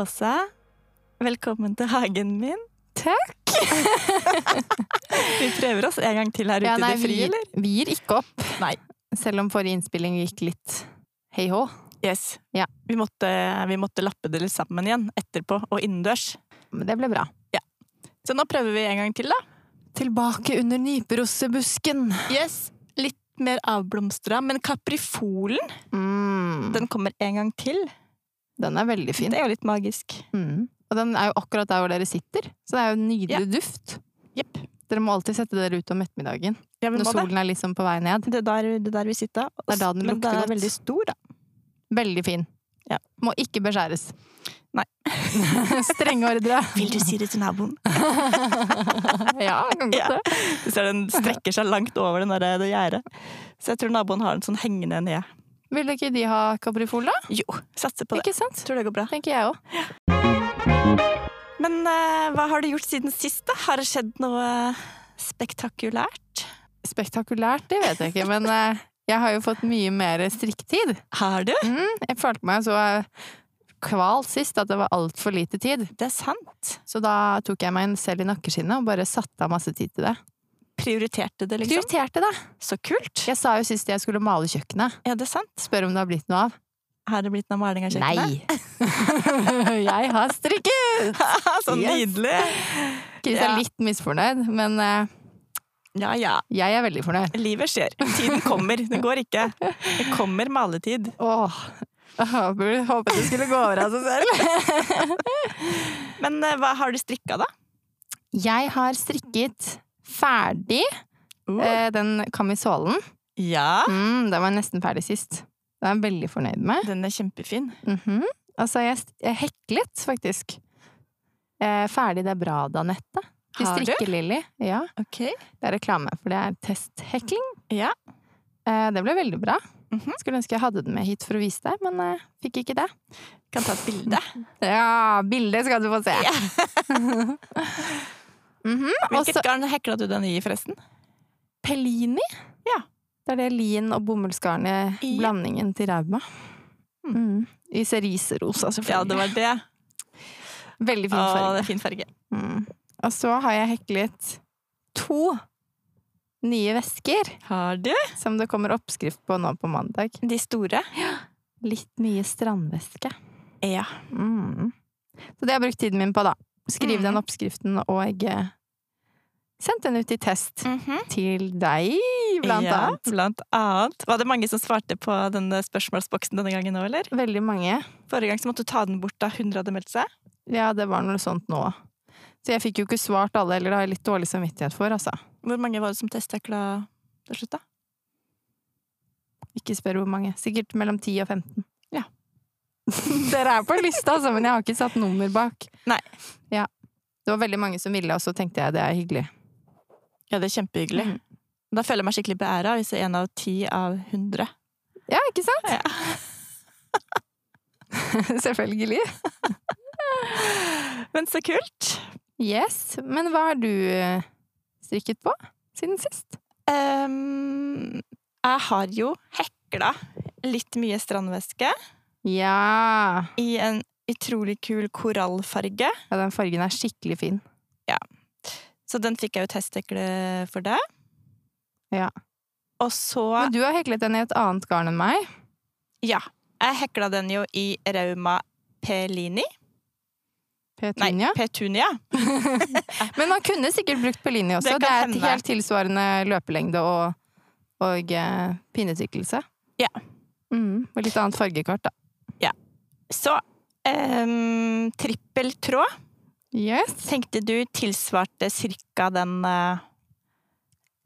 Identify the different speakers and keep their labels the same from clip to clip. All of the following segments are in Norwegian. Speaker 1: Åsa. eh, Velkommen til hagen min.
Speaker 2: Takk!
Speaker 1: Vi prøver oss en gang til her ute
Speaker 2: Ja, nei,
Speaker 1: i det
Speaker 2: vi,
Speaker 1: frie, eller?
Speaker 2: vi gir ikke opp.
Speaker 1: Nei.
Speaker 2: Selv om forrige innspilling gikk litt hei hå.
Speaker 1: Yes.
Speaker 2: Ja.
Speaker 1: Vi, måtte, vi måtte lappe det litt sammen igjen etterpå, og innendørs.
Speaker 2: Men det ble bra.
Speaker 1: Så nå prøver vi en gang til, da.
Speaker 2: Tilbake under nyperosebusken.
Speaker 1: Yes. Litt mer avblomstra, men kaprifolen,
Speaker 2: Mm. Den,
Speaker 1: den kommer en gang til.
Speaker 2: er veldig fin.
Speaker 1: Det er jo litt magisk.
Speaker 2: Mm. Og den er jo akkurat der hvor dere sitter, så det er jo en nydelig
Speaker 1: Ja.
Speaker 2: duft.
Speaker 1: Jepp.
Speaker 2: Dere må alltid sette dere ut om ettermiddagen
Speaker 1: Ja, vi
Speaker 2: når
Speaker 1: må det.
Speaker 2: solen er liksom på vei ned.
Speaker 1: Det er der, det er der vi sitter.
Speaker 2: Det er da den
Speaker 1: men
Speaker 2: lukter
Speaker 1: den er
Speaker 2: godt.
Speaker 1: veldig stor, da.
Speaker 2: Veldig fin.
Speaker 1: Ja.
Speaker 2: Må ikke beskjæres.
Speaker 1: Nei.
Speaker 2: Strenge ordre.
Speaker 1: Vil du si det til naboen?
Speaker 2: ja, kan godt
Speaker 1: Ja.
Speaker 2: det.
Speaker 1: Du ser den strekker seg langt over det der- det gjerdet. Så jeg tror naboen har den sånn hengende ned.
Speaker 2: Vil ikke de ha kaprifol, da?
Speaker 1: Jo, satser på det.
Speaker 2: Ikke sant?
Speaker 1: Tror det går bra.
Speaker 2: Tenker jeg òg.
Speaker 1: Men eh, hva har du gjort siden sist, da? Har det skjedd noe spektakulært?
Speaker 2: Spektakulært, det vet jeg ikke, men eh, jeg har jo fått mye mer strikketid.
Speaker 1: Har du?
Speaker 2: Jeg følte meg så eh, kvalt sist at det var altfor lite tid.
Speaker 1: Det er sant.
Speaker 2: Så da tok jeg meg en selv i nakkeskinnet og bare satte av masse tid til det.
Speaker 1: Prioriterte det, liksom.
Speaker 2: Prioriterte det!
Speaker 1: Så kult.
Speaker 2: Jeg sa jo sist jeg skulle male kjøkkenet.
Speaker 1: Ja, det er sant.
Speaker 2: Spør om det har blitt noe av.
Speaker 1: Har det blitt noe maling av kjøkkenet?
Speaker 2: Nei! jeg har strikket!
Speaker 1: Nei. så
Speaker 2: Yes.
Speaker 1: nydelig!
Speaker 2: Chris
Speaker 1: Ja.
Speaker 2: er litt misfornøyd, men eh,
Speaker 1: Ja ja.
Speaker 2: jeg er veldig fornøyd.
Speaker 1: Livet skjer. Tiden kommer. Det går ikke. Det kommer maletid.
Speaker 2: Åh, jeg burde håpet det skulle gå over altså. av seg selv.
Speaker 1: Men eh, hva har du strikka, da?
Speaker 2: Jeg har strikket ferdig eh, den kamisolen.
Speaker 1: Ja.
Speaker 2: Mm, den var nesten ferdig sist. Den er jeg veldig fornøyd med.
Speaker 1: Den er kjempefin.
Speaker 2: Mhm. Og så har jeg, st- jeg heklet, faktisk. Eh, ferdig det Brada-nettet. Til
Speaker 1: Har du?
Speaker 2: strikkelilly. Ja,
Speaker 1: Ok.
Speaker 2: det er reklame, for det er testhekling.
Speaker 1: Ja.
Speaker 2: Eh, det ble veldig bra.
Speaker 1: Mhm.
Speaker 2: Skulle ønske jeg hadde den med hit for å vise deg, men eh, fikk ikke det.
Speaker 1: Kan ta et bilde.
Speaker 2: Ja, bildet skal du få se! Mhm, og
Speaker 1: Hvilket
Speaker 2: så
Speaker 1: garn hekla du den i, forresten?
Speaker 2: Pellini.
Speaker 1: Ja.
Speaker 2: Det er det lin- og bomullsgarnet,
Speaker 1: Ja.
Speaker 2: blandingen til Rauma.
Speaker 1: Mm.
Speaker 2: Mm. I cerise-rosa, selvfølgelig.
Speaker 1: Ja, det var det.
Speaker 2: Veldig fin
Speaker 1: Å,
Speaker 2: farge.
Speaker 1: det er fin farge.
Speaker 2: Mm. Og så har jeg heklet to nye vesker,
Speaker 1: Har du?
Speaker 2: som det kommer oppskrift på nå på mandag.
Speaker 1: De store?
Speaker 2: Litt nye strandveske.
Speaker 1: Ja.
Speaker 2: Mm. Så det har jeg brukt tiden min på, da. Skrive
Speaker 1: Mm.
Speaker 2: den oppskriften og eh, sendt den ut i test til deg, blant
Speaker 1: Mhm. ja,
Speaker 2: annet.
Speaker 1: Blant annet. Var det mange som svarte på denne spørsmålsboksen denne gangen òg, eller?
Speaker 2: Veldig mange.
Speaker 1: Forrige gang så måtte du ta den bort da 100 hadde meldt seg.
Speaker 2: Ja, det var noe sånt nå. Så jeg fikk jo ikke svart alle, eller det har jeg litt dårlig samvittighet for, altså.
Speaker 1: Hvor mange var det som testhekla til slutt, da?
Speaker 2: Ikke spør hvor mange. Sikkert mellom 10 og 15.
Speaker 1: Ja.
Speaker 2: Dere er på lista, altså, men jeg har ikke satt nummer bak.
Speaker 1: Nei.
Speaker 2: Ja. Det var veldig mange som ville, og så tenkte jeg det er hyggelig.
Speaker 1: Ja, det er kjempehyggelig.
Speaker 2: Mm.
Speaker 1: Da føler jeg meg skikkelig beæra hvis jeg er en av ti av 100.
Speaker 2: Ja, ikke sant?
Speaker 1: Ja.
Speaker 2: Selvfølgelig.
Speaker 1: Men så kult!
Speaker 2: Yes. Men hva har du eh, strikket på siden sist?
Speaker 1: Ehm, jeg har jo hekla litt mye strandvæske
Speaker 2: Ja.
Speaker 1: i en utrolig kul korallfarge.
Speaker 2: ja! Den fargen er skikkelig fin.
Speaker 1: Så den fikk jeg jo testhekle for deg.
Speaker 2: Ja.
Speaker 1: Og så
Speaker 2: Men du har heklet den i et annet garn enn meg.
Speaker 1: Ja. Jeg hekla den jo i Rauma Pelini. Nei,
Speaker 2: Petunia.
Speaker 1: Petunia.
Speaker 2: Men man kunne sikkert brukt Pellini også.
Speaker 1: Det
Speaker 2: Det,
Speaker 1: kan
Speaker 2: er
Speaker 1: hende.
Speaker 2: et helt tilsvarende løpelengde og, og eh, pinnetykkelse.
Speaker 1: Ja.
Speaker 2: Mm, og litt annet fargekart, da.
Speaker 1: Så um, trippel tråd
Speaker 2: Yes.
Speaker 1: tenkte du tilsvarte cirka den eh,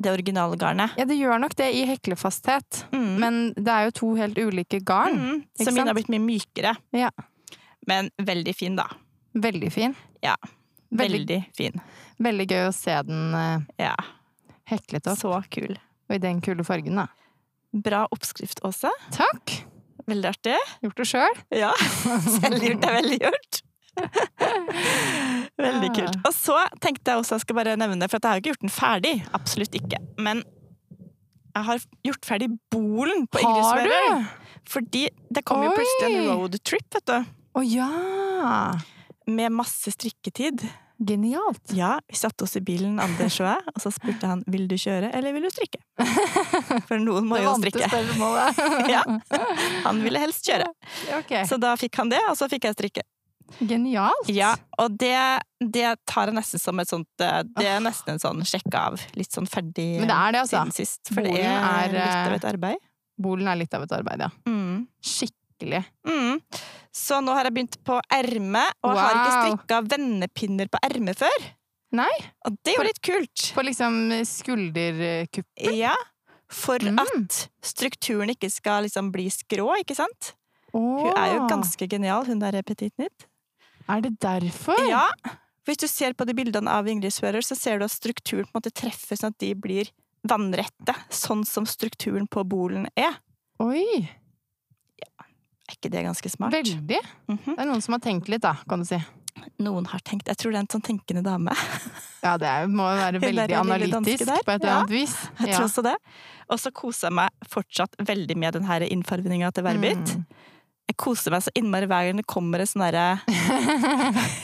Speaker 1: det originale garnet.
Speaker 2: Ja, det gjør nok det i heklefasthet.
Speaker 1: Mm.
Speaker 2: Men det er jo to helt ulike garn.
Speaker 1: mm,
Speaker 2: ikke
Speaker 1: så min har
Speaker 2: sant?
Speaker 1: blitt mye mykere.
Speaker 2: Ja.
Speaker 1: Men veldig fin, da.
Speaker 2: Veldig fin.
Speaker 1: Ja. Veldig,
Speaker 2: Veldig,
Speaker 1: fin.
Speaker 2: veldig gøy å se den eh,
Speaker 1: Ja.
Speaker 2: heklet opp,
Speaker 1: Så kul.
Speaker 2: og i den kule fargen, da.
Speaker 1: Bra oppskrift, Åse.
Speaker 2: Takk!
Speaker 1: Veldig artig.
Speaker 2: Gjort det sjøl.
Speaker 1: Ja. Selvgjort er veldig gjort. Veldig kult. Og så tenkte jeg også jeg skal bare nevne, for at jeg har jo ikke gjort den ferdig. Absolutt ikke. Men jeg har gjort ferdig bolen på
Speaker 2: Har du?
Speaker 1: Ingridsværøy. Fordi det kom jo
Speaker 2: Oi!
Speaker 1: plutselig en roadtrip, vet du.
Speaker 2: Å ja!
Speaker 1: med masse strikketid.
Speaker 2: Genialt!
Speaker 1: Ja, vi satte oss i bilen, Anders og jeg, og så spurte han vil du kjøre eller vil du strikke. For noen må
Speaker 2: Det
Speaker 1: jo
Speaker 2: vante
Speaker 1: strikke.
Speaker 2: spørsmålet.
Speaker 1: Ja. Han ville helst kjøre.
Speaker 2: Ok.
Speaker 1: Så da fikk han det, og så fikk jeg strikke.
Speaker 2: Genialt!
Speaker 1: Ja, og det, det tar jeg nesten som et sånt eh, Det er nesten en sånn sjekke av. Litt sånn ferdig
Speaker 2: Men det er det, altså.
Speaker 1: siden sist. For det
Speaker 2: Bolen
Speaker 1: er
Speaker 2: er,
Speaker 1: litt av
Speaker 2: eh,
Speaker 1: et arbeid.
Speaker 2: Bolen er litt av et arbeid, ja.
Speaker 1: Mm.
Speaker 2: Skikkelig.
Speaker 1: Mm. Så nå har jeg begynt på erme, og jeg har ikke
Speaker 2: Wow.
Speaker 1: strikka vennepinner på erme før.
Speaker 2: Nei.
Speaker 1: Og det er jo litt kult.
Speaker 2: På liksom skulderkupp.
Speaker 1: Ja, for
Speaker 2: Mm.
Speaker 1: at strukturen ikke skal liksom bli skrå, ikke sant? Hun er jo ganske genial, hun der Petit Nytt.
Speaker 2: Er det derfor?
Speaker 1: Ja. Hvis du ser på de bildene av Ingrid Sørøer, så ser du at strukturen på en måte treffer sånn at de blir vannrette, sånn som strukturen på bolen er.
Speaker 2: Oi!
Speaker 1: Er ikke det ganske smart?
Speaker 2: Veldig. Det
Speaker 1: Mhm.
Speaker 2: er noen som har tenkt litt, da, kan du si.
Speaker 1: Noen har tenkt Jeg tror det er en sånn tenkende dame.
Speaker 2: Ja, det er, må jo være
Speaker 1: Hun der
Speaker 2: veldig
Speaker 1: lille danske
Speaker 2: analytisk
Speaker 1: der.
Speaker 2: på et eller
Speaker 1: Ja.
Speaker 2: annet vis.
Speaker 1: Jeg
Speaker 2: Ja.
Speaker 1: tror også det. Og så koser jeg meg fortsatt veldig med den her innfarvinga til Verbit.
Speaker 2: Mm.
Speaker 1: Jeg koser meg så innmari hver gang det kommer en sånn derre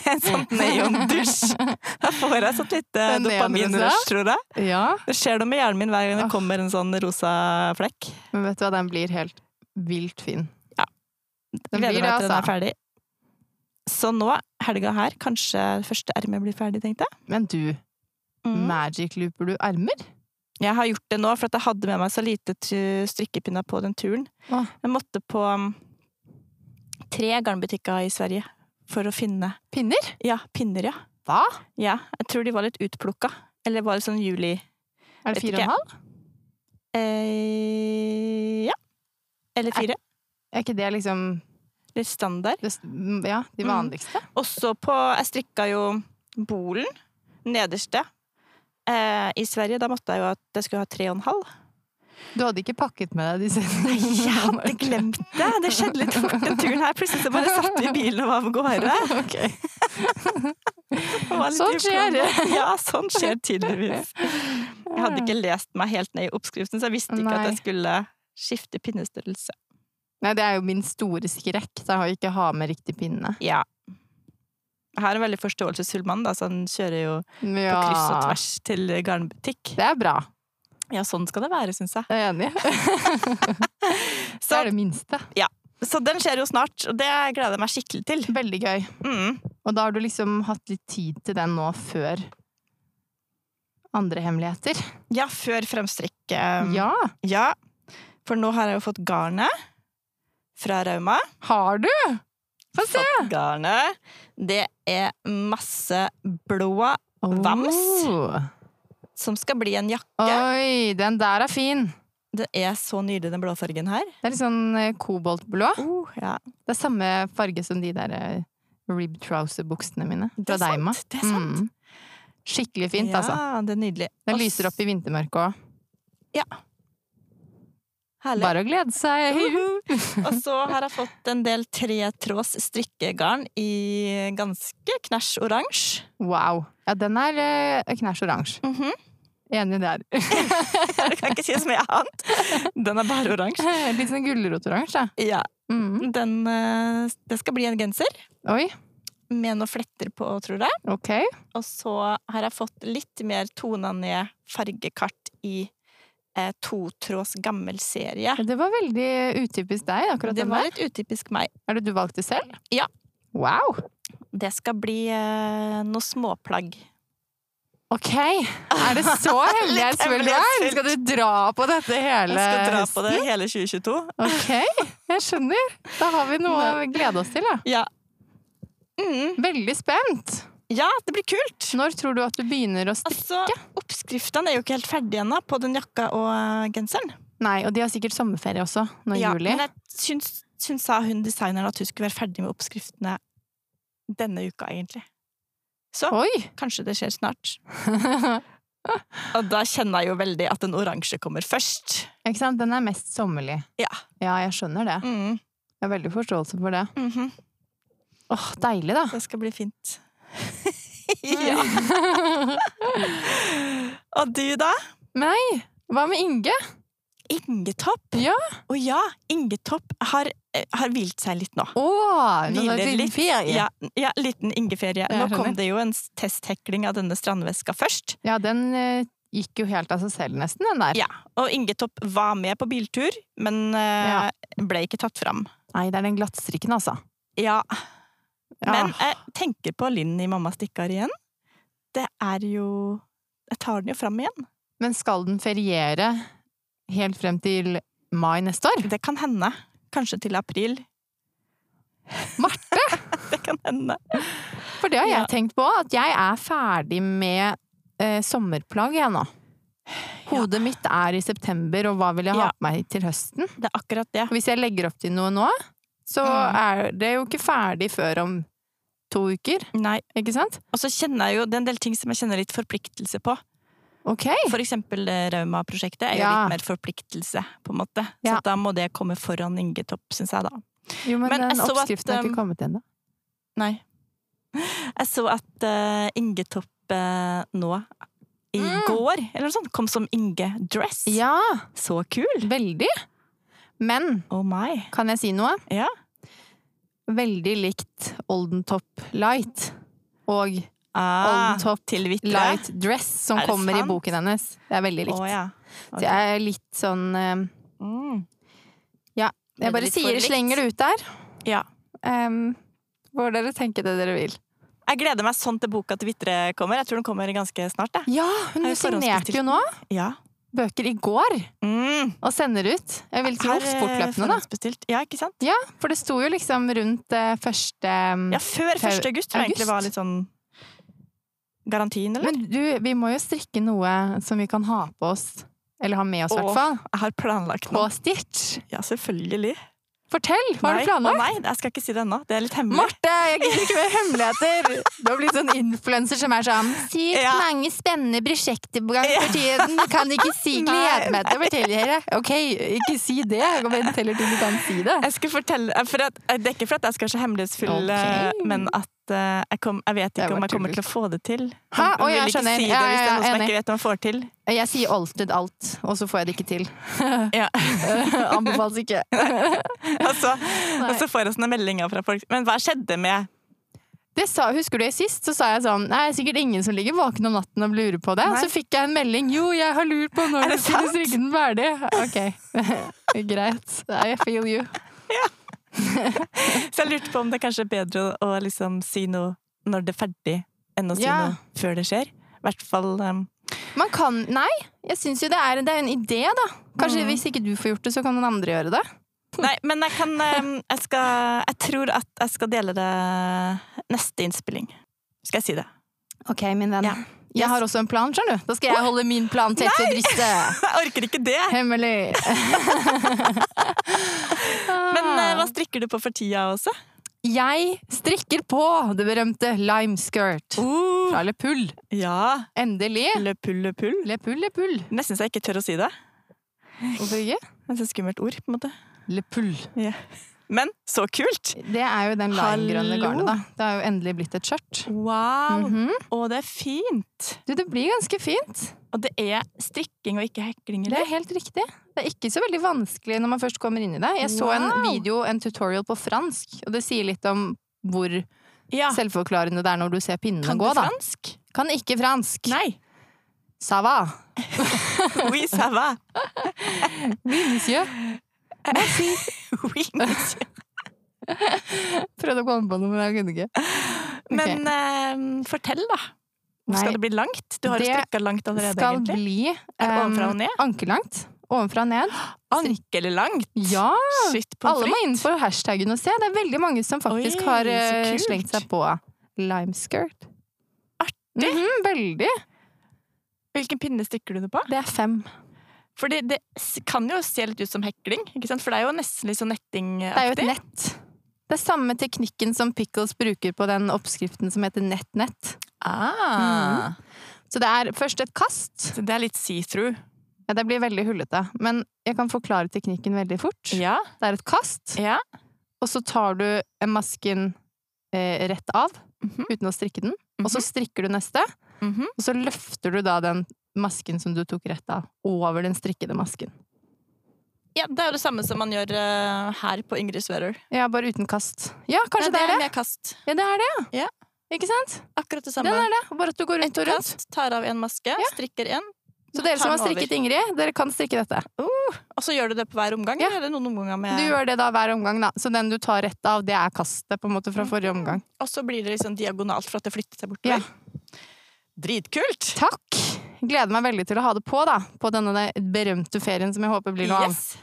Speaker 1: En sånn neondusj. Da får jeg sånn lite
Speaker 2: Den
Speaker 1: dopaminrush,
Speaker 2: neonrosa?
Speaker 1: tror jeg.
Speaker 2: Mm. ja,
Speaker 1: Det skjer noe med hjernen min hver gang det
Speaker 2: Åh.
Speaker 1: kommer en sånn rosa flekk.
Speaker 2: men vet du hva, den blir helt vilt fin.
Speaker 1: Ja.
Speaker 2: Den
Speaker 1: Gleder
Speaker 2: blir det,
Speaker 1: meg til den er
Speaker 2: altså.
Speaker 1: ferdig. Så nå, helga her, kanskje første erme blir ferdig, tenkte jeg.
Speaker 2: Men du,
Speaker 1: Mm.
Speaker 2: magic looper du ermer?
Speaker 1: Jeg har gjort det nå, for at jeg hadde med meg så lite tu- strikkepinner på den turen.
Speaker 2: Åh.
Speaker 1: Jeg måtte på um, tre garnbutikker i Sverige for å finne
Speaker 2: Pinner?
Speaker 1: Ja, pinner, ja.
Speaker 2: Hva?
Speaker 1: Ja, jeg tror de var litt utplukka. Eller var det sånn juli
Speaker 2: Er det
Speaker 1: Vet
Speaker 2: fire og en halv?
Speaker 1: eh, Ja. Eller fire.
Speaker 2: Er ikke det liksom
Speaker 1: Litt standard.
Speaker 2: det, s- m, Ja, de
Speaker 1: Mm.
Speaker 2: vanligste?
Speaker 1: Også på Jeg strikka jo bolen, nederste. Eh, I Sverige da måtte jeg jo at jeg skulle ha tre og en halv.
Speaker 2: Du hadde ikke pakket med deg disse?
Speaker 1: Jeg hadde glemt det! Det skjedde litt fort den turen her. Plutselig så bare satt vi i bilen og var av gårde.
Speaker 2: Ok.
Speaker 1: Det var litt
Speaker 2: Sånn skjer.
Speaker 1: uplanlagt. Ja, sånn skjer tydeligvis. Jeg hadde ikke lest meg helt ned i oppskriften, så jeg visste ikke at
Speaker 2: Nei.
Speaker 1: jeg skulle skifte pinnestørrelse.
Speaker 2: Nei, det er jo min store skrekk. Da har jeg ikke ha med riktig pinne.
Speaker 1: Ja. Jeg har en veldig forståelsesfull mann, da, så han kjører jo på
Speaker 2: Ja.
Speaker 1: kryss og tvers til garnbutikk.
Speaker 2: Det er bra.
Speaker 1: Ja, sånn skal det være, syns jeg.
Speaker 2: Jeg er enig. det
Speaker 1: Så,
Speaker 2: er det minste.
Speaker 1: så den skjer jo snart, og det gleder jeg meg skikkelig til.
Speaker 2: Veldig gøy.
Speaker 1: Mm.
Speaker 2: Og da har du liksom hatt litt tid til den nå før andre hemmeligheter.
Speaker 1: Ja, før fremstrikk. eh,
Speaker 2: ja!
Speaker 1: ja. For nå har jeg jo fått garnet fra Rauma.
Speaker 2: Har du? Få se!
Speaker 1: Fått garnet. Det er masse blå Vams.
Speaker 2: Oh.
Speaker 1: som skal bli en jakke.
Speaker 2: Oi, den der er fin.
Speaker 1: Det er så nydelig, den blåfargen her.
Speaker 2: Det er litt sånn eh, koboltblå.
Speaker 1: Uh, ja.
Speaker 2: Det er samme farge som de der eh, rib trouser-buksene mine
Speaker 1: Det
Speaker 2: fra
Speaker 1: er
Speaker 2: Deima.
Speaker 1: sant, det er sant.
Speaker 2: Mm. Skikkelig fint, altså.
Speaker 1: Ja, det er nydelig.
Speaker 2: Den
Speaker 1: Og s-
Speaker 2: lyser opp i vintermørket òg.
Speaker 1: Herlig.
Speaker 2: Bare å glede seg!
Speaker 1: Uhu. Og så har jeg fått en del tretråds strikkegarn i ganske knæsj oransje.
Speaker 2: Wow. Ja, den er eh, knæsj oransje.
Speaker 1: Mhm.
Speaker 2: Enig der.
Speaker 1: Jeg kan ikke si så mye annet. Den er bare oransje.
Speaker 2: Litt sånn gulrotoransje.
Speaker 1: Ja,
Speaker 2: Mm.
Speaker 1: den, eh, det skal bli en genser
Speaker 2: Oi,
Speaker 1: med noen fletter på, tror jeg.
Speaker 2: ok.
Speaker 1: Og så har jeg fått litt mer tona ned fargekart i eh, totråds gammel serie.
Speaker 2: Det var veldig utypisk deg, akkurat
Speaker 1: Det
Speaker 2: den
Speaker 1: var
Speaker 2: der.
Speaker 1: litt utypisk meg.
Speaker 2: Er det du valgte selv?
Speaker 1: Ja.
Speaker 2: Wow!
Speaker 1: Det skal bli eh, noe småplagg.
Speaker 2: Ok, er det så hemmelig her,
Speaker 1: Litt
Speaker 2: spør du meg?
Speaker 1: hemmelighetsfullt.
Speaker 2: Skal du dra på dette
Speaker 1: Jeg
Speaker 2: hele
Speaker 1: skal dra på
Speaker 2: høsten?
Speaker 1: det hele 2022.
Speaker 2: Ok, jeg skjønner. Da har vi noe å glede oss til, ja.
Speaker 1: Ja. Mm.
Speaker 2: Veldig spent.
Speaker 1: Ja, det blir kult!
Speaker 2: Når tror du at du begynner å strikke?
Speaker 1: Altså, Oppskriftene er jo ikke helt ferdige ennå på den jakka og eh, genseren.
Speaker 2: Nei, og de har sikkert sommerferie også, nå i
Speaker 1: Ja,
Speaker 2: juli.
Speaker 1: Men jeg syns, syns sa hun designeren at hun skulle være ferdig med oppskriftene denne uka, egentlig. Så
Speaker 2: Oi!
Speaker 1: kanskje det skjer snart. Og da kjenner jeg jo veldig at den oransje kommer først.
Speaker 2: Ikke sant? Den er mest sommerlig.
Speaker 1: Ja.
Speaker 2: Ja, jeg skjønner det.
Speaker 1: Mm.
Speaker 2: Jeg har veldig forståelse for det.
Speaker 1: mhm.
Speaker 2: Åh, deilig da!
Speaker 1: Det skal bli fint. ja. Og du, da?
Speaker 2: Nei! Hva med Inge?
Speaker 1: Ingetopp?
Speaker 2: Ja.
Speaker 1: Å ja, Ingetopp har eh, har hvilt seg litt nå.
Speaker 2: Å! Nå er det
Speaker 1: Hviler
Speaker 2: liten
Speaker 1: litt.
Speaker 2: ferie.
Speaker 1: Ja, ja liten ingeferie.
Speaker 2: Ja,
Speaker 1: Nå
Speaker 2: jeg
Speaker 1: kom
Speaker 2: skjønner.
Speaker 1: det jo en s- testhekling av denne strandveska først.
Speaker 2: Ja, den eh, gikk jo helt av seg selv, nesten, den der.
Speaker 1: Ja, Og Ingetopp var med på biltur, men eh, ble ikke tatt fram.
Speaker 2: Nei, det er den glattstrikken, altså.
Speaker 1: Ja,
Speaker 2: Ja.
Speaker 1: Men jeg tenker på Linn i Mamma stikkar igjen. Det er jo Jeg tar den jo fram igjen.
Speaker 2: Men skal den feriere helt frem til mai neste år?
Speaker 1: Det kan hende. Kanskje til april.
Speaker 2: Marte!
Speaker 1: Det kan hende.
Speaker 2: For det har jeg
Speaker 1: Ja.
Speaker 2: tenkt på, at jeg er ferdig med eh, sommerplagg jeg nå. Hodet mitt er i september, og hva vil jeg ha
Speaker 1: Ja.
Speaker 2: på meg til høsten?
Speaker 1: Det er akkurat det.
Speaker 2: Og Hvis jeg legger opp til noe nå, så
Speaker 1: Mm.
Speaker 2: er det jo ikke ferdig før om to uker,
Speaker 1: Nei.
Speaker 2: ikke sant?
Speaker 1: Og så kjenner jeg jo det er en del ting som jeg kjenner litt forpliktelse på.
Speaker 2: Ok!
Speaker 1: For eksempel eh, Rauma-prosjektet er jo
Speaker 2: Mm. Ja.
Speaker 1: litt mer forpliktelse, på en måte. Så
Speaker 2: Ja.
Speaker 1: da må det komme foran Ingetopp, syns jeg, da.
Speaker 2: Jo, men,
Speaker 1: Men jeg
Speaker 2: den
Speaker 1: så at,
Speaker 2: oppskriften er
Speaker 1: um,
Speaker 2: ikke kommet ennå.
Speaker 1: Nei. Jeg så at eh, Ingetopp eh, nå i
Speaker 2: Mm.
Speaker 1: går, eller noe sånt, kom som Inge Dress.
Speaker 2: Ja,
Speaker 1: Så kul!
Speaker 2: veldig! Men
Speaker 1: Oh my.
Speaker 2: Kan jeg si noe?
Speaker 1: Ja.
Speaker 2: Veldig likt Oldentop Light og
Speaker 1: Ah,
Speaker 2: Oldentop
Speaker 1: til Vitre.
Speaker 2: Light Dress som
Speaker 1: Er det
Speaker 2: kommer
Speaker 1: sant?
Speaker 2: i boken hennes. Det er
Speaker 1: Å
Speaker 2: veldig likt.
Speaker 1: ja.
Speaker 2: Så jeg er litt sånn eh,
Speaker 1: Mm. Er det
Speaker 2: Jeg bare
Speaker 1: litt for
Speaker 2: sier
Speaker 1: likt?
Speaker 2: slenger det ut der.
Speaker 1: Ja.
Speaker 2: Em, får dere tenke det dere vil.
Speaker 1: Jeg gleder meg sånn til boka til Vitre kommer. Jeg tror den kommer ganske snart. Jeg.
Speaker 2: Ja, hun
Speaker 1: Har jeg
Speaker 2: signerte jo nå
Speaker 1: Ja.
Speaker 2: bøker i går
Speaker 1: Mm.
Speaker 2: og sender ut. Jeg vil tro
Speaker 1: Her, eh,
Speaker 2: sportløpene, da.
Speaker 1: forhåndsbestilt. Ja, ikke sant?
Speaker 2: Ja, for det sto jo liksom rundt eh, første em,
Speaker 1: Ja, før 1. august tror jeg egentlig
Speaker 2: August.
Speaker 1: var litt sånn garantien, eller?
Speaker 2: Men du, vi må jo strikke noe som vi kan ha på oss, eller ha med oss i
Speaker 1: Åh.
Speaker 2: hvert fall.
Speaker 1: jeg har planlagt
Speaker 2: på
Speaker 1: noe.
Speaker 2: Stitch.
Speaker 1: Ja, selvfølgelig.
Speaker 2: Fortell! Hva har
Speaker 1: Nei.
Speaker 2: du planlagt?
Speaker 1: Å, nei, jeg skal ikke si det ennå. Det er litt hemmelig.
Speaker 2: Marte, jeg gidder ikke mer hemmeligheter! Du har blitt sånn influenser som er sånn Sykt
Speaker 1: Ja.
Speaker 2: mange spennende prosjekter på gang for tiden. Kan ikke si
Speaker 1: Nei,
Speaker 2: glede meg til å fortelle dere. Ok, ikke si det. Jeg venter heller til du kan si det.
Speaker 1: Jeg skal fortelle, eh, for at, Det er ikke for at jeg skal være så hemmelighetsfull,
Speaker 2: Ok.
Speaker 1: eh, men at eh, jeg, kom, jeg vet
Speaker 2: Det
Speaker 1: ikke om
Speaker 2: var
Speaker 1: jeg kommer til å få det til.
Speaker 2: Hæ? Å,
Speaker 1: Jeg
Speaker 2: jeg
Speaker 1: vil ikke si
Speaker 2: skjønner.
Speaker 1: det
Speaker 2: Ja,
Speaker 1: hvis det er
Speaker 2: ja,
Speaker 1: noe som jeg
Speaker 2: enig.
Speaker 1: ikke vet om jeg får til.
Speaker 2: Jeg sier alltid alt, og så får jeg det ikke til.
Speaker 1: Ja.
Speaker 2: Anbefales ikke.
Speaker 1: Og så, og så får jeg sånne meldinger fra folk. Men hva skjedde med
Speaker 2: Det sa, husker du sist, så sa jeg sånn Nei, det er sikkert ingen som ligger våken om natten og lurer på det.
Speaker 1: Nei.
Speaker 2: Så fikk jeg en melding. Jo, jeg har lurt på
Speaker 1: Er
Speaker 2: når du
Speaker 1: det
Speaker 2: skulle
Speaker 1: sant?
Speaker 2: strikke den ferdig. Ok. Greit. I feel you.
Speaker 1: Så jeg lurte på om det kanskje er bedre å, å liksom si noe når det er ferdig, enn å si
Speaker 2: Ja.
Speaker 1: noe før det skjer. I hvert fall um,
Speaker 2: Man kan Nei, jeg syns jo det er, det er en idé, da.
Speaker 1: Mm.
Speaker 2: Kanskje hvis ikke du får gjort det, så kan noen andre gjøre det.
Speaker 1: Nei, men jeg kan um, jeg, skal, jeg tror at jeg skal dele det neste innspilling. Skal jeg si det?
Speaker 2: Ok, min venn.
Speaker 1: Ja.
Speaker 2: Jeg har også en plan, skjønner du. Da skal jeg holde min plan tett til brystet.
Speaker 1: Jeg orker ikke det!
Speaker 2: Hemmelig.
Speaker 1: Men eh, hva strikker du på for tida også?
Speaker 2: Jeg strikker på det berømte lime skirt.
Speaker 1: Uh,
Speaker 2: Fra Le Pull.
Speaker 1: ja.
Speaker 2: Endelig.
Speaker 1: Le pull, le pull.
Speaker 2: Le Pull, Le Pull.
Speaker 1: Nesten så jeg ikke tør å si det.
Speaker 2: Hvorfor ikke?
Speaker 1: Det er så skummelt ord, på en måte.
Speaker 2: Le Pull.
Speaker 1: Ja. Men så kult!
Speaker 2: Det er jo den limegrønne
Speaker 1: Hallo.
Speaker 2: garnet, da. Det har jo endelig blitt et skjørt.
Speaker 1: Wow!
Speaker 2: Mhm.
Speaker 1: Og det er fint!
Speaker 2: Du, det blir ganske fint.
Speaker 1: Og det er strikking og ikke hekling,
Speaker 2: Det
Speaker 1: eller?
Speaker 2: er helt riktig. Det er ikke så veldig vanskelig når man først kommer inn i det. Jeg så en
Speaker 1: Wow.
Speaker 2: video, en tutorial på fransk, og det sier litt om hvor
Speaker 1: Ja.
Speaker 2: selvforklarende det er når du ser pinnene
Speaker 1: Ah. Kan du
Speaker 2: gå, da.
Speaker 1: fransk?
Speaker 2: Kan ikke fransk.
Speaker 1: Nei.
Speaker 2: Ça va.
Speaker 1: Oui, ça va.
Speaker 2: Monsieur.
Speaker 1: Oui, monsieur.
Speaker 2: Prøvde å komme på noe, men jeg kunne ikke.
Speaker 1: Men eh, fortell, da.
Speaker 2: Nei.
Speaker 1: Skal det bli langt? Du har jo
Speaker 2: Det
Speaker 1: strikka langt allerede,
Speaker 2: Skal
Speaker 1: egentlig.
Speaker 2: bli
Speaker 1: Er det ovenfra og
Speaker 2: em,
Speaker 1: ned?
Speaker 2: ankelangt. Ovenfra og ned.
Speaker 1: Ankelig langt!
Speaker 2: Ja!
Speaker 1: Shit på
Speaker 2: Alle må inn for hashtaggen og se. Det er veldig mange som faktisk
Speaker 1: Oi,
Speaker 2: har
Speaker 1: så
Speaker 2: eh,
Speaker 1: kult.
Speaker 2: slengt seg på limeskirt. Artig! veldig.
Speaker 1: Hvilken pinne strikker du det på?
Speaker 2: Det er fem.
Speaker 1: Fordi det s- kan jo se litt ut som hekling, ikke sant? for det er jo nesten litt sånn nettingaktig.
Speaker 2: Det er jo et nett. Det er samme teknikken som Pickles bruker på den oppskriften som heter nett-nett.
Speaker 1: Ah.
Speaker 2: Så det er først et kast.
Speaker 1: Så det er litt see-through.
Speaker 2: Ja, det blir veldig hullete, men jeg kan forklare teknikken veldig fort.
Speaker 1: Ja.
Speaker 2: Det er et kast,
Speaker 1: ja.
Speaker 2: og så tar du eh, masken eh, rett av
Speaker 1: Mhm.
Speaker 2: uten å strikke den, og så strikker du neste,
Speaker 1: Mhm.
Speaker 2: og så løfter du da den masken som du tok rett av, over den strikkede masken.
Speaker 1: Ja, Det er jo det samme som man gjør eh, her på Ingrid Sverrer.
Speaker 2: Ja, bare uten kast. Ja, kanskje
Speaker 1: Nei,
Speaker 2: det er det.
Speaker 1: Med kast.
Speaker 2: Ja, det er det, ja.
Speaker 1: Ja.
Speaker 2: Ikke sant?
Speaker 1: Akkurat det samme.
Speaker 2: Den er det. Bare at du går
Speaker 1: Et
Speaker 2: rundt og rundt.
Speaker 1: kast, tar av en maske, strikker en,
Speaker 2: Så dere
Speaker 1: tar
Speaker 2: som har
Speaker 1: den over.
Speaker 2: strikket Ingrid, dere kan strikke dette.
Speaker 1: og så gjør du det på hver omgang?
Speaker 2: Oh. Ja.
Speaker 1: Eller er det noen omganger
Speaker 2: Du
Speaker 1: med
Speaker 2: gjør det da hver omgang, da. Så den du tar rett av, det er kastet på en måte fra forrige omgang.
Speaker 1: Og så blir det liksom diagonalt for at det flytter seg
Speaker 2: Ja.
Speaker 1: bortover? Dritkult!
Speaker 2: Takk! Gleder meg veldig til å ha det på, da. På denne der berømte ferien som jeg håper blir noe av.
Speaker 1: Yes.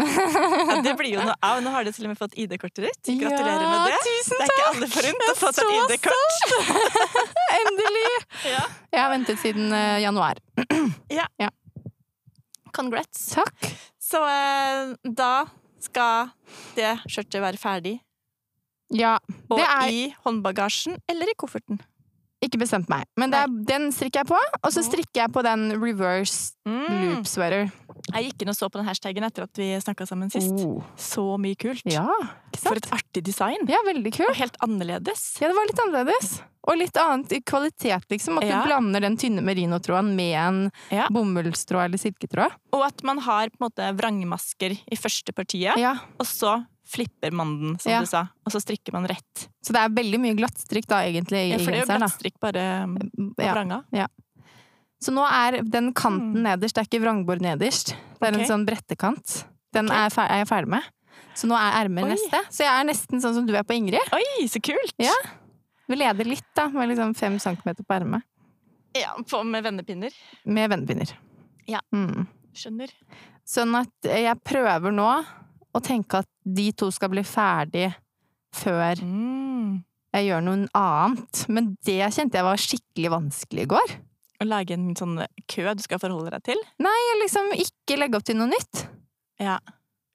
Speaker 1: Ja, det blir jo noe av. Nå har du til og med fått ID-kortet ditt. Gratulerer
Speaker 2: Ja,
Speaker 1: med det.
Speaker 2: Tusen
Speaker 1: Det er
Speaker 2: takk!
Speaker 1: ikke alle forunt å
Speaker 2: Jeg er
Speaker 1: få seg
Speaker 2: så
Speaker 1: et ID-kort.
Speaker 2: Endelig!
Speaker 1: Ja.
Speaker 2: Jeg har ventet siden eh, januar.
Speaker 1: Congrats.
Speaker 2: Takk.
Speaker 1: Så eh, da skal det skjørtet være ferdig.
Speaker 2: Ja,
Speaker 1: Og
Speaker 2: Det er-
Speaker 1: i håndbagasjen eller i kofferten.
Speaker 2: ikke bestemt meg. Men det er, den strikker jeg på, og så strikker jeg på den reverse
Speaker 1: Mm.
Speaker 2: loop sweater.
Speaker 1: Jeg gikk inn og så på den hashtaggen etter at vi snakka sammen sist.
Speaker 2: Oh.
Speaker 1: Så mye kult.
Speaker 2: Ja, ikke
Speaker 1: For
Speaker 2: sant?
Speaker 1: et artig design.
Speaker 2: Ja, veldig kult.
Speaker 1: Og helt annerledes.
Speaker 2: Ja, det var litt annerledes. Og litt annet i kvalitet, liksom. At
Speaker 1: Ja.
Speaker 2: du blander den tynne merinotråden med en
Speaker 1: Ja.
Speaker 2: bomullstråd eller silketråd.
Speaker 1: Og at man har på en måte vrangmasker i første partiet,
Speaker 2: Ja.
Speaker 1: og så flipper man den, som
Speaker 2: Ja.
Speaker 1: du sa. Og så strikker man rett.
Speaker 2: Så det er veldig mye glattstrikk da, egentlig, i
Speaker 1: Ja, for det er jo
Speaker 2: genseren. da.
Speaker 1: glattstrikk bare um, på
Speaker 2: Ja.
Speaker 1: vranga.
Speaker 2: Så nå er den kanten
Speaker 1: Mm.
Speaker 2: nederst, det er ikke vrangbord nederst. Det er
Speaker 1: Ok.
Speaker 2: en sånn brettekant. Den
Speaker 1: Ok.
Speaker 2: er, fer er jeg ferdig med. Så nå er ermet
Speaker 1: Oi.
Speaker 2: neste. Så jeg er nesten sånn som du er på Ingrid.
Speaker 1: Oi, så kult!
Speaker 2: Ja. Vi leder litt, da, med liksom fem centimeter på ermet.
Speaker 1: Ja, på, med vennepinner.
Speaker 2: Med vennepinner.
Speaker 1: Ja.
Speaker 2: Mm.
Speaker 1: Skjønner.
Speaker 2: Sånn at jeg prøver nå å tenke at de to skal bli ferdig før
Speaker 1: Mm.
Speaker 2: jeg gjør noe annet. Men det kjente jeg var skikkelig vanskelig i går.
Speaker 1: Å lage en sånn kø du skal forholde deg til.
Speaker 2: Jeg liksom ikke legge opp til noe nytt.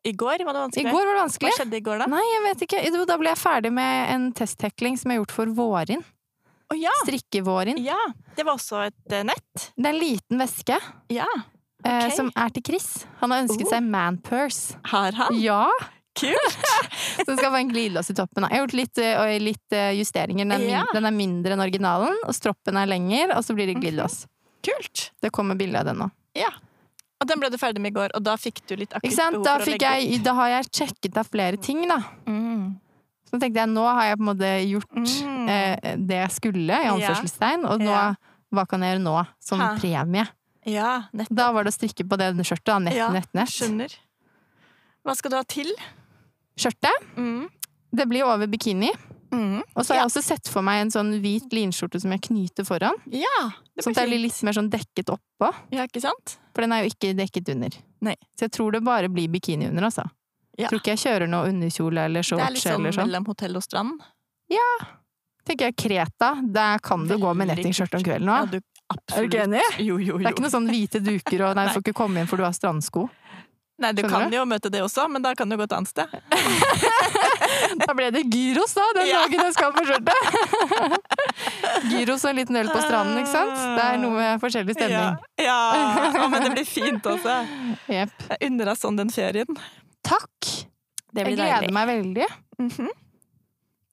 Speaker 1: I går var det
Speaker 2: I
Speaker 1: vanskelig.
Speaker 2: går var det
Speaker 1: Hva
Speaker 2: vanskelig.
Speaker 1: skjedde i går, da?
Speaker 2: Nei, jeg vet ikke. Jo, Da ble jeg ferdig med en testhekling som jeg har gjort for Vårin.
Speaker 1: Å ja!
Speaker 2: Strikke-Vårin.
Speaker 1: Ja! Det var også et eh, nett.
Speaker 2: Det er en liten veske
Speaker 1: Ja.
Speaker 2: eh,
Speaker 1: Ok.
Speaker 2: som er til Chris. Han har ønsket
Speaker 1: Oh.
Speaker 2: seg manpurse.
Speaker 1: Har han?
Speaker 2: Ja!
Speaker 1: Kult!
Speaker 2: Så den skal få en glidelås i toppen. da. Jeg har gjort litt, eh, og litt eh, justeringer. Den er, min,
Speaker 1: Ja. Mhm.
Speaker 2: den er mindre enn originalen, og stroppen er lengre, og så blir det glidelås.
Speaker 1: Kult!
Speaker 2: Det kommer bilde av den nå.
Speaker 1: Og den ble du ferdig med i går, og da fikk du litt akutt
Speaker 2: Ikke sant?
Speaker 1: behov
Speaker 2: Da,
Speaker 1: for å
Speaker 2: fikk
Speaker 1: legge opp.
Speaker 2: jeg, da har jeg sjekket av flere ting, da.
Speaker 1: Mm.
Speaker 2: Så tenkte jeg, nå har jeg på en måte gjort
Speaker 1: Mm.
Speaker 2: eh, det jeg skulle, i
Speaker 1: Ja.
Speaker 2: anførselstegn, og nå,
Speaker 1: Ja.
Speaker 2: hva kan jeg gjøre nå, som
Speaker 1: Ha.
Speaker 2: premie?
Speaker 1: Ja, nett.
Speaker 2: Da var det å strikke på det skjørtet, da. Nett,
Speaker 1: Ja,
Speaker 2: nett, nett.
Speaker 1: Skjønner. Hva skal du ha til?
Speaker 2: Skjørtet,
Speaker 1: Mm.
Speaker 2: det blir over bikini,
Speaker 1: Mm.
Speaker 2: og så har jeg også sett for meg en sånn hvit linskjorte som jeg knyter foran,
Speaker 1: Ja, det
Speaker 2: sånn
Speaker 1: blir
Speaker 2: at jeg blir
Speaker 1: fint.
Speaker 2: litt mer sånn dekket oppå,
Speaker 1: Ja, ikke sant?
Speaker 2: for den er jo ikke dekket under.
Speaker 1: Nei.
Speaker 2: Så jeg tror det bare blir bikini under, altså.
Speaker 1: Ja.
Speaker 2: Tror ikke jeg kjører noe underkjole eller
Speaker 1: Det
Speaker 2: shorts
Speaker 1: er litt sånn
Speaker 2: eller sånn.
Speaker 1: mellom hotell og strand.
Speaker 2: tenker jeg Kreta, der kan du gå med
Speaker 1: Veldig
Speaker 2: nettingskjørt om kvelden
Speaker 1: Ja,
Speaker 2: òg.
Speaker 1: du,
Speaker 2: Er du
Speaker 1: absolutt.
Speaker 2: ikke enig?
Speaker 1: Jo, jo,
Speaker 2: Det er ikke
Speaker 1: jo.
Speaker 2: noe sånn hvite duker og 'nei, du
Speaker 1: Nei.
Speaker 2: får ikke komme inn for du har strandsko'.
Speaker 1: Nei, du
Speaker 2: Skjønner
Speaker 1: kan
Speaker 2: du?
Speaker 1: jo møte det også, men da kan du gå et annet sted.
Speaker 2: Da ble det gyros, da, den
Speaker 1: Ja.
Speaker 2: dagen jeg skal på skjørtet! gyros og en liten øl på stranden, ikke sant? Det er noe med forskjellig stemning.
Speaker 1: Ja, ja. Å, men det blir fint også.
Speaker 2: Jepp.
Speaker 1: Jeg unner deg sånn den ferien.
Speaker 2: Takk!
Speaker 1: Det
Speaker 2: Jeg gleder meg veldig.
Speaker 1: Mhm.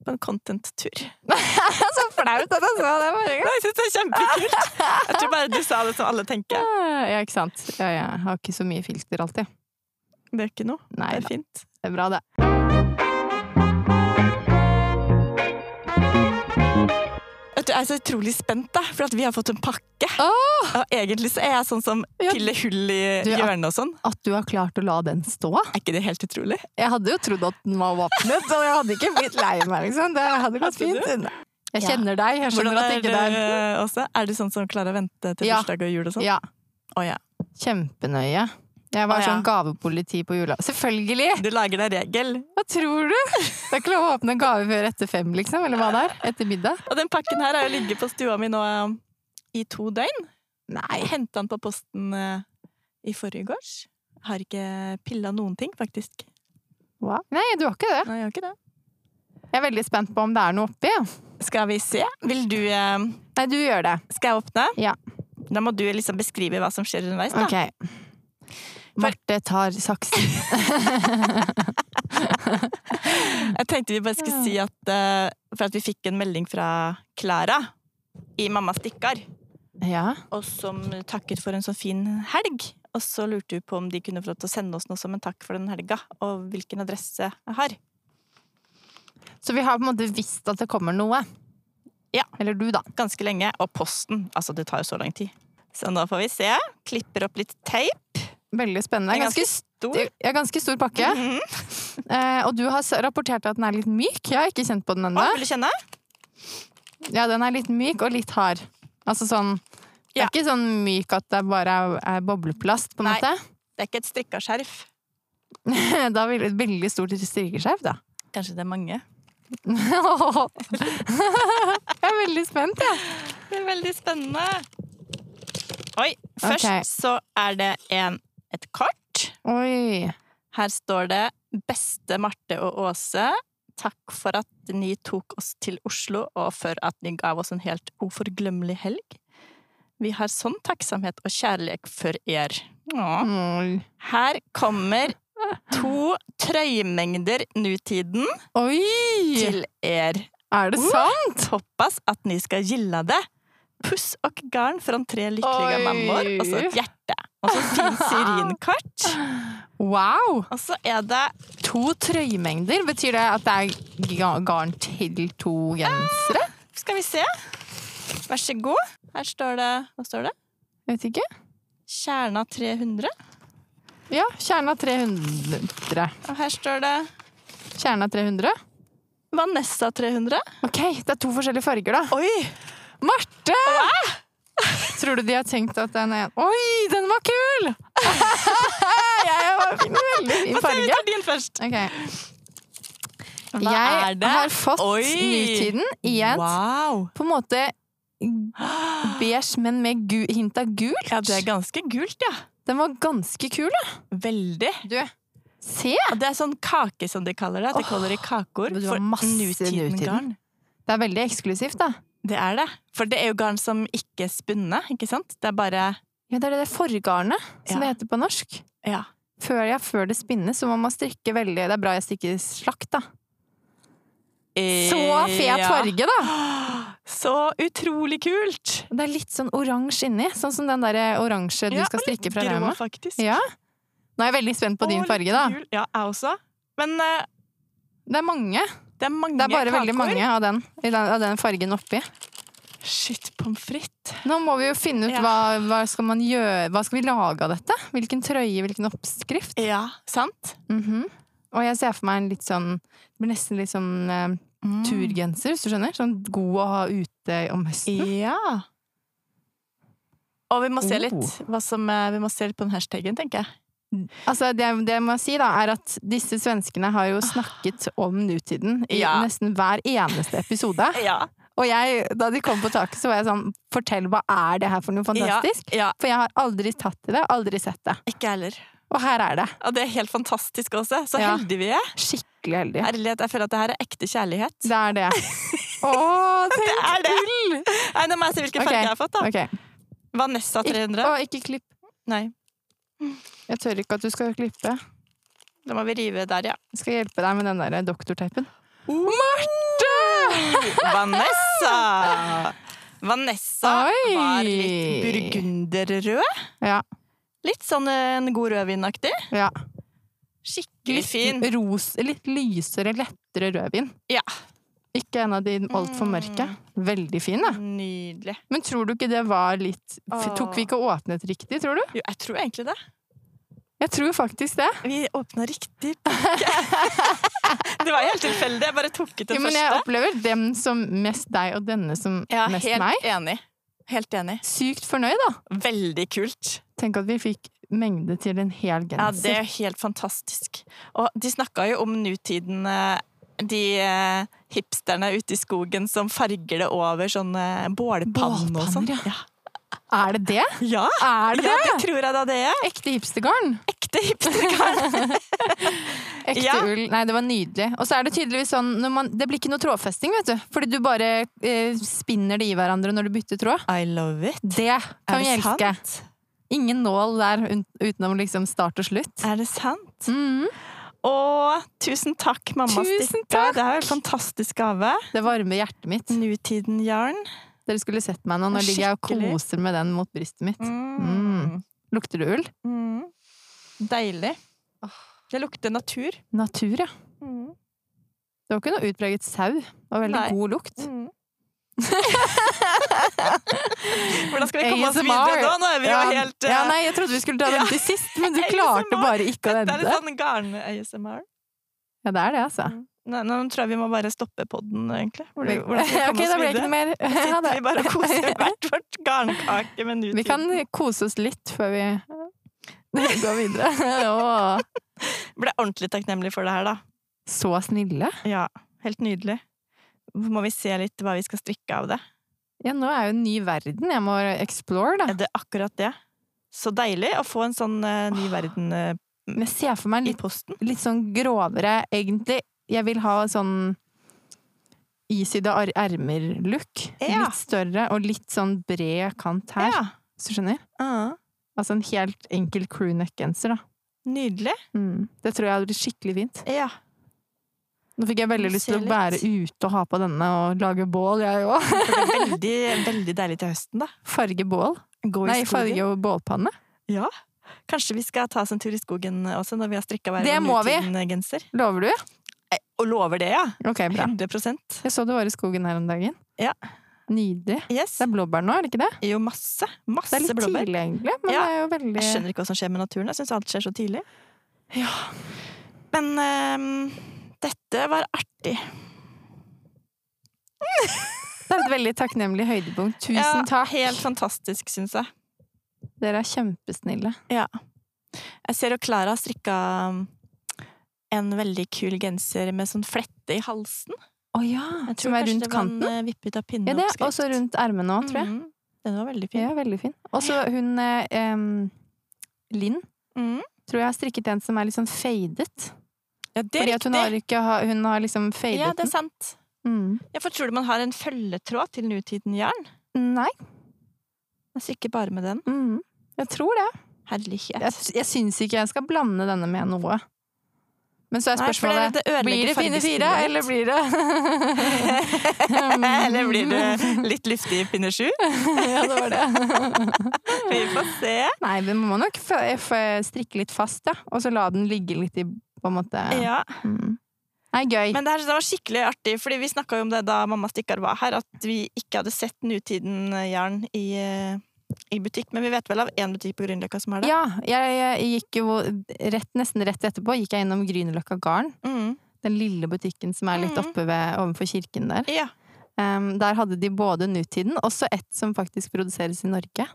Speaker 1: På en content-tur.
Speaker 2: Så flaut at jeg sa det forrige gang!
Speaker 1: Nei, Jeg syns det er kjempekult! Jeg tror bare du sa det som alle tenker.
Speaker 2: Ja, ikke sant. Ja, jeg har ikke så mye filter alltid.
Speaker 1: Det er ikke noe.
Speaker 2: Nei
Speaker 1: Det er
Speaker 2: da,
Speaker 1: fint.
Speaker 2: det er bra, det.
Speaker 1: Vet du, jeg er så utrolig spent, da, for at vi har fått en pakke. Og egentlig så er jeg sånn som
Speaker 2: Ja.
Speaker 1: piller hull i
Speaker 2: Du, ja.
Speaker 1: hjørnet og sånn.
Speaker 2: At du har klart å la den stå.
Speaker 1: Er ikke det helt utrolig?
Speaker 2: Jeg hadde jo trodd at den var åpnet, og jeg hadde ikke blitt lei meg, liksom. Det hadde gått
Speaker 1: Hadde du?
Speaker 2: fint. Jeg
Speaker 1: Ja.
Speaker 2: kjenner deg, jeg skjønner at det ikke
Speaker 1: er
Speaker 2: det er
Speaker 1: det også? Er du sånn som klarer å vente til
Speaker 2: Ja.
Speaker 1: bursdag og jul og sånn?
Speaker 2: Ja,
Speaker 1: Å ja.
Speaker 2: kjempenøye. Jeg
Speaker 1: Å,
Speaker 2: var
Speaker 1: ja.
Speaker 2: sånn gavepoliti på jula. Selvfølgelig!
Speaker 1: Du lager deg regel.
Speaker 2: Hva tror du? Det er ikke lov å åpne gave før etter fem, liksom, eller hva det er? Etter middag?
Speaker 1: Og den pakken her har jo ligget på stua mi nå eh, i to døgn.
Speaker 2: Nei.
Speaker 1: Henta den på posten eh, i forrige gårs. Har ikke pilla noen ting, faktisk.
Speaker 2: Hva? Nei, du har ikke det.
Speaker 1: Nei, jeg har ikke det.
Speaker 2: Jeg er veldig spent på om det er noe oppi. ja.
Speaker 1: Skal vi se. Vil du eh,
Speaker 2: Nei, du gjør det.
Speaker 1: Skal jeg åpne?
Speaker 2: Ja.
Speaker 1: Da må du liksom beskrive hva som skjer underveis, da.
Speaker 2: Ok. Marte tar saksen.
Speaker 1: Jeg tenkte vi bare skulle
Speaker 2: Ja.
Speaker 1: si at eh, For at vi fikk en melding fra Klara i Mamma stikkar,
Speaker 2: Ja.
Speaker 1: og som takker for en så fin helg. Og så lurte hun på om de kunne få lov til å sende oss noe som en takk for den helga, og hvilken adresse jeg har.
Speaker 2: Så vi har på en måte visst at det kommer noe.
Speaker 1: Ja.
Speaker 2: Eller du, da.
Speaker 1: Ganske lenge. Og posten. Altså, det tar jo så lang tid. Så nå får vi se. Klipper opp litt teip.
Speaker 2: Veldig spennende.
Speaker 1: Den er
Speaker 2: Ganske,
Speaker 1: ganske stor.
Speaker 2: st- ja, ganske stor pakke.
Speaker 1: Mhm.
Speaker 2: Eh, og du har s- rapportert at den er litt myk. Jeg har ikke kjent på den
Speaker 1: Å,
Speaker 2: ennå.
Speaker 1: vil du kjenne?
Speaker 2: Ja, den er litt myk og litt hard. Altså sånn Det
Speaker 1: Ja.
Speaker 2: er ikke sånn myk at det bare er, er bobleplast, på en
Speaker 1: Nei.
Speaker 2: måte.
Speaker 1: Det er ikke et strikka skjerf.
Speaker 2: Da vil et veldig stort strikkeskjerf, da.
Speaker 1: Kanskje det er mange.
Speaker 2: jeg er veldig spent, jeg.
Speaker 1: Det er veldig spennende. Oi. Først
Speaker 2: Ok.
Speaker 1: så er det en, et kort.
Speaker 2: Oi.
Speaker 1: Her står det 'Beste Marte og Åse'. Takk for at ni tok oss til Oslo, og for at ni gav oss en helt uforglemmelig helg. Vi har sånn takksomhet og kjærlighet for er. Åh.
Speaker 2: Oi.
Speaker 1: Her kommer to trøymengder nutiden
Speaker 2: Oi!
Speaker 1: til er.
Speaker 2: Er det
Speaker 1: Uh.
Speaker 2: sant?
Speaker 1: Hoppas at ni skal gilla det. Puss og garn från tre lykkeliga
Speaker 2: Oi.
Speaker 1: mammor. Og så et hjerte. Og så et fint syrinkort.
Speaker 2: Wow!
Speaker 1: Og så er det
Speaker 2: To trøymengder. Betyr det at det er ga- garn til to gensere?
Speaker 1: Skal vi se. Vær så god. Her står det Hva står det?
Speaker 2: Jeg vet ikke.
Speaker 1: Kjerna 300.
Speaker 2: Ja, kjerna 300.
Speaker 1: Og her står det
Speaker 2: Kjerna 300.
Speaker 1: Vanessa 300.
Speaker 2: Ok, det er to forskjellige farger, da.
Speaker 1: Oi!
Speaker 2: Marte! Tror du de har tenkt at den er Oi, den var kul! Jeg var fin, veldig fin
Speaker 1: Få se, vi
Speaker 2: farge.
Speaker 1: tar din først.
Speaker 2: Ok.
Speaker 1: Hva er
Speaker 2: Jeg
Speaker 1: det?
Speaker 2: har fått
Speaker 1: Oi!
Speaker 2: nutiden i et
Speaker 1: Wow!
Speaker 2: på en måte beige, men med gu hint av gult.
Speaker 1: Ja, det er ganske gult, ja.
Speaker 2: Den var ganske kul, da.
Speaker 1: Veldig.
Speaker 2: Du, se!
Speaker 1: Og det er sånn kake, som de kaller det. At de kaller det kakor.
Speaker 2: men du har
Speaker 1: For
Speaker 2: masse nutiden.
Speaker 1: nutiden-garn.
Speaker 2: Det er veldig eksklusivt, da.
Speaker 1: Det er det. For det er jo garn som ikke er spunnet, ikke sant? Det er bare
Speaker 2: Ja, det er det der forgarnet, som
Speaker 1: Ja.
Speaker 2: det heter på norsk.
Speaker 1: Ja.
Speaker 2: Før, ja, før det spinnes, så må man strikke veldig Det er bra jeg stikker slakt, da. Så fet
Speaker 1: eh, Ja.
Speaker 2: farge, da!
Speaker 1: Så utrolig kult!
Speaker 2: Det er litt sånn oransje inni, sånn som den der oransje du
Speaker 1: Ja,
Speaker 2: skal
Speaker 1: og litt
Speaker 2: strikke fra
Speaker 1: grå,
Speaker 2: Rauma.
Speaker 1: faktisk.
Speaker 2: Ja. Nå er jeg veldig spent på
Speaker 1: Og
Speaker 2: din
Speaker 1: litt
Speaker 2: farge, da.
Speaker 1: gul. Ja, jeg også. Men eh,
Speaker 2: Det er mange.
Speaker 1: det er mange
Speaker 2: Det er bare
Speaker 1: kakor.
Speaker 2: veldig mange av den, i den- av den fargen oppi.
Speaker 1: Shit, pommes frites.
Speaker 2: Nå må vi jo finne ut
Speaker 1: Ja.
Speaker 2: hva, hva skal man gjøre Hva skal vi lage av dette? Hvilken trøye, hvilken oppskrift?
Speaker 1: Ja, sant?
Speaker 2: Mhm. Og jeg ser for meg en litt sånn Det blir nesten litt sånn eh,
Speaker 1: Mm.
Speaker 2: turgenser, hvis du skjønner? Sånn god å ha ute om høsten.
Speaker 1: Ja. Hm? Og vi må se
Speaker 2: Oh.
Speaker 1: litt hva som, eh, vi må se litt på den hashtaggen, tenker jeg.
Speaker 2: Altså, det, det jeg må si, da, er at disse svenskene har jo snakket om nutiden i
Speaker 1: Ah. Ja.
Speaker 2: nesten hver eneste episode.
Speaker 1: Ja.
Speaker 2: Og jeg, da de kom på taket, så var jeg sånn Fortell, hva er det her for noe fantastisk?
Speaker 1: Ja,
Speaker 2: For jeg har aldri tatt i det, aldri sett det.
Speaker 1: ikke jeg heller.
Speaker 2: Og her er det.
Speaker 1: Og det er helt fantastisk også. Så
Speaker 2: Ja.
Speaker 1: heldige vi er.
Speaker 2: Skikkelig heldig.
Speaker 1: Ærlighet, jeg føler at det her er ekte kjærlighet.
Speaker 2: Det er det. Å, tenk
Speaker 1: Det er det.
Speaker 2: gull!
Speaker 1: Nei, nå må jeg se hvilken
Speaker 2: Ok.
Speaker 1: farge jeg har fått, da.
Speaker 2: Ok.
Speaker 1: Vanessa
Speaker 2: Ik-
Speaker 1: 300.
Speaker 2: Å, ikke klipp.
Speaker 1: Nei,
Speaker 2: Jeg tør ikke at du skal klippe.
Speaker 1: da må vi rive der, ja.
Speaker 2: Jeg skal hjelpe deg med den der doktorteipen. Oh.
Speaker 1: Vanessa! Vanessa
Speaker 2: Oi!
Speaker 1: var litt burgunderrød.
Speaker 2: Ja.
Speaker 1: Litt sånn eh, en god rødvinaktig.
Speaker 2: ja.
Speaker 1: Skikkelig fin.
Speaker 2: Ros, litt lysere, lettere rødvin.
Speaker 1: Ja. Mm.
Speaker 2: Ikke en av de altfor mørke. Veldig fin, da.
Speaker 1: Nydelig.
Speaker 2: Men tror du ikke det var litt f-
Speaker 1: Åh.
Speaker 2: Tok vi ikke og åpnet riktig, tror du?
Speaker 1: Jo, jeg tror egentlig det.
Speaker 2: Jeg tror faktisk det.
Speaker 1: Vi åpna riktig pakke. det var helt tilfeldig. Jeg bare tok ut
Speaker 2: Jo,
Speaker 1: den
Speaker 2: men jeg
Speaker 1: første.
Speaker 2: opplever dem som mest deg, og denne som
Speaker 1: Ja,
Speaker 2: mest
Speaker 1: helt
Speaker 2: meg.
Speaker 1: enig. Helt enig.
Speaker 2: Sykt fornøyd, da.
Speaker 1: Veldig kult.
Speaker 2: Tenk at vi fikk mengde til en hel
Speaker 1: Ja, det
Speaker 2: genser.
Speaker 1: er jo helt fantastisk. Og de snakka jo om nutiden eh, De eh, hipsterne ute i skogen som farger det over sånne bålpanner og sånn.
Speaker 2: Bålpanner,
Speaker 1: Ja.
Speaker 2: Er det det?
Speaker 1: Ja.
Speaker 2: Er det
Speaker 1: ja,
Speaker 2: det?
Speaker 1: det tror jeg da det er.
Speaker 2: Ekte hipstergarn.
Speaker 1: Ekte hipstergarn.
Speaker 2: Ekte
Speaker 1: Ja.
Speaker 2: ull. Nei, det var nydelig. Og så er det tydeligvis sånn når man, Det blir ikke noe trådfesting, vet du. Fordi du bare eh, spinner det i hverandre når du bytter tråd.
Speaker 1: I love it.
Speaker 2: Det kan
Speaker 1: Er
Speaker 2: vi
Speaker 1: det
Speaker 2: elske. Ingen nål der un- utenom liksom start og slutt.
Speaker 1: Er det sant?
Speaker 2: Mhm.
Speaker 1: Og tusen takk, mamma
Speaker 2: Tusen
Speaker 1: Stikka.
Speaker 2: takk.
Speaker 1: Det er jo en fantastisk gave.
Speaker 2: Det varmer hjertet mitt.
Speaker 1: Mm. Nutiden-jarn.
Speaker 2: Dere skulle sett meg nå. Nå ligger jeg og
Speaker 1: Skikkelig.
Speaker 2: koser med den mot brystet mitt.
Speaker 1: Mm.
Speaker 2: Lukter det ull?
Speaker 1: Mm. Deilig. Det lukter natur.
Speaker 2: Natur, ja. Mm. Det var ikke noe utpreget sau. Det var veldig
Speaker 1: Nei. Mm.
Speaker 2: god lukt.
Speaker 1: Hvordan skal vi komme oss videre nå? Nå er vi jo
Speaker 2: Ja,
Speaker 1: helt
Speaker 2: ja,
Speaker 1: eh,
Speaker 2: nei, jeg trodde vi skulle ta den til sist, men du
Speaker 1: ASMR.
Speaker 2: klarte bare ikke å
Speaker 1: Det er
Speaker 2: vente.
Speaker 1: litt sånn garn-ASMR.
Speaker 2: Ja, det er det, altså.
Speaker 1: Nei, nå tror jeg vi må bare stoppe podden, egentlig. Hvordan, hvordan skal vi
Speaker 2: Eh, Ok,
Speaker 1: komme
Speaker 2: da
Speaker 1: oss
Speaker 2: ble det
Speaker 1: videre?
Speaker 2: ikke noe mer.
Speaker 1: Sitter
Speaker 2: Ja, det-
Speaker 1: vi bare og koser hvert vårt garnkake med nutiden.
Speaker 2: Vi kan kose oss litt før vi går videre. Åh,
Speaker 1: Ble ordentlig takknemlig for det her, da.
Speaker 2: så snille.
Speaker 1: Ja, helt nydelig. Må vi se litt hva vi skal strikke av det?
Speaker 2: Ja, nå er jo en ny verden. Jeg må explore, da.
Speaker 1: Er det akkurat det? Så deilig å få en sånn eh, ny verden eh,
Speaker 2: Men jeg ser for meg en
Speaker 1: i
Speaker 2: litt,
Speaker 1: posten.
Speaker 2: litt sånn grovere, egentlig. Jeg vil ha sånn isydde ar- ermer-look.
Speaker 1: Ja.
Speaker 2: Litt større og litt sånn bred kant her.
Speaker 1: Ja.
Speaker 2: Hvis du skjønner?
Speaker 1: Ah,
Speaker 2: Altså en helt enkel crew neck-genser, da.
Speaker 1: nydelig.
Speaker 2: Mm. Det tror jeg hadde blitt skikkelig fint.
Speaker 1: Ja.
Speaker 2: Nå fikk jeg veldig
Speaker 1: Du
Speaker 2: lyst til
Speaker 1: ser
Speaker 2: å
Speaker 1: litt.
Speaker 2: bære ute og ha på denne og lage bål, jeg òg.
Speaker 1: Det blir veldig, veldig deilig til høsten, da.
Speaker 2: Farge bål.
Speaker 1: Gå i
Speaker 2: Nei,
Speaker 1: skogen.
Speaker 2: farge og bålpanne.
Speaker 1: Ja. Kanskje vi skal ta oss en tur i skogen også, når vi har strikka hver
Speaker 2: Det må
Speaker 1: vår
Speaker 2: vi.
Speaker 1: nutiden-genser.
Speaker 2: Lover du?
Speaker 1: Og lover det, ja!
Speaker 2: Ok, bra.
Speaker 1: 100
Speaker 2: Jeg så du var i skogen her om dagen.
Speaker 1: Ja.
Speaker 2: Nydelig.
Speaker 1: Yes.
Speaker 2: Det er blåbær nå, er det ikke det?
Speaker 1: Det er jo masse.
Speaker 2: Det
Speaker 1: Masse
Speaker 2: er litt
Speaker 1: blåbær.
Speaker 2: tidlig, egentlig, men
Speaker 1: Ja.
Speaker 2: det er jo veldig
Speaker 1: Jeg skjønner ikke hva som skjer med naturen. Jeg syns alt skjer så tidlig.
Speaker 2: Ja.
Speaker 1: Men ehm, dette var artig.
Speaker 2: Det er et veldig takknemlig høydepunkt. Tusen
Speaker 1: Ja,
Speaker 2: takk!
Speaker 1: Helt fantastisk, syns jeg.
Speaker 2: Dere er kjempesnille.
Speaker 1: Jeg ser jo Klara har strikka um, en veldig kul genser med sånn flette i halsen.
Speaker 2: Å ja!
Speaker 1: Jeg tror
Speaker 2: Som er
Speaker 1: kanskje
Speaker 2: rundt
Speaker 1: det var en,
Speaker 2: kanten.
Speaker 1: eh, vippet av
Speaker 2: Ja, det er
Speaker 1: pinneoppskrift.
Speaker 2: også rundt ermene òg, tror jeg.
Speaker 1: Mhm. Den var veldig fin.
Speaker 2: Ja, veldig fin. Og så hun eh, em, Linn,
Speaker 1: Mhm.
Speaker 2: tror jeg har strikket en som er litt sånn fadet.
Speaker 1: Ja, det er
Speaker 2: Fordi at hun har,
Speaker 1: riktig!
Speaker 2: ikke, ha- hun har liksom fadet
Speaker 1: Ja, det er
Speaker 2: den.
Speaker 1: sant.
Speaker 2: Mm.
Speaker 1: Ja, for tror du man har en følgetråd til nutiden-jern?
Speaker 2: Nei.
Speaker 1: Man strikker bare med den.
Speaker 2: Mm. Jeg tror det.
Speaker 1: Herlighet.
Speaker 2: Jeg, jeg syns ikke jeg skal blande denne med noe. Men så er
Speaker 1: Nei, for
Speaker 2: spørsmålet
Speaker 1: det- det ødelegger
Speaker 2: Blir det fine fire,
Speaker 1: fargespillet.
Speaker 2: eller blir det
Speaker 1: Eller blir det litt luftig i pinne sju?
Speaker 2: Ja, det var det.
Speaker 1: Vi får se.
Speaker 2: Nei, vi må nok f- f- strikke litt fast, ja. Og så la den ligge litt i på en måte
Speaker 1: Ja.
Speaker 2: mm. Nei, gøy.
Speaker 1: Men det, her, det var skikkelig artig, fordi vi snakka jo om det da mamma Stikkar var her, at vi ikke hadde sett Nutiden-jern i, eh, i butikk. Men vi vet vel av én butikk på Grünerløkka som har det.
Speaker 2: Ja, jeg, jeg gikk jo rett, nesten rett etterpå gikk jeg innom Grünerløkka Garn.
Speaker 1: Mm.
Speaker 2: Den lille butikken som er litt
Speaker 1: Mhm.
Speaker 2: oppe ved, overfor kirken der.
Speaker 1: ja.
Speaker 2: Em, Ehm, der hadde de både Nutiden, også et som faktisk produseres i Norge.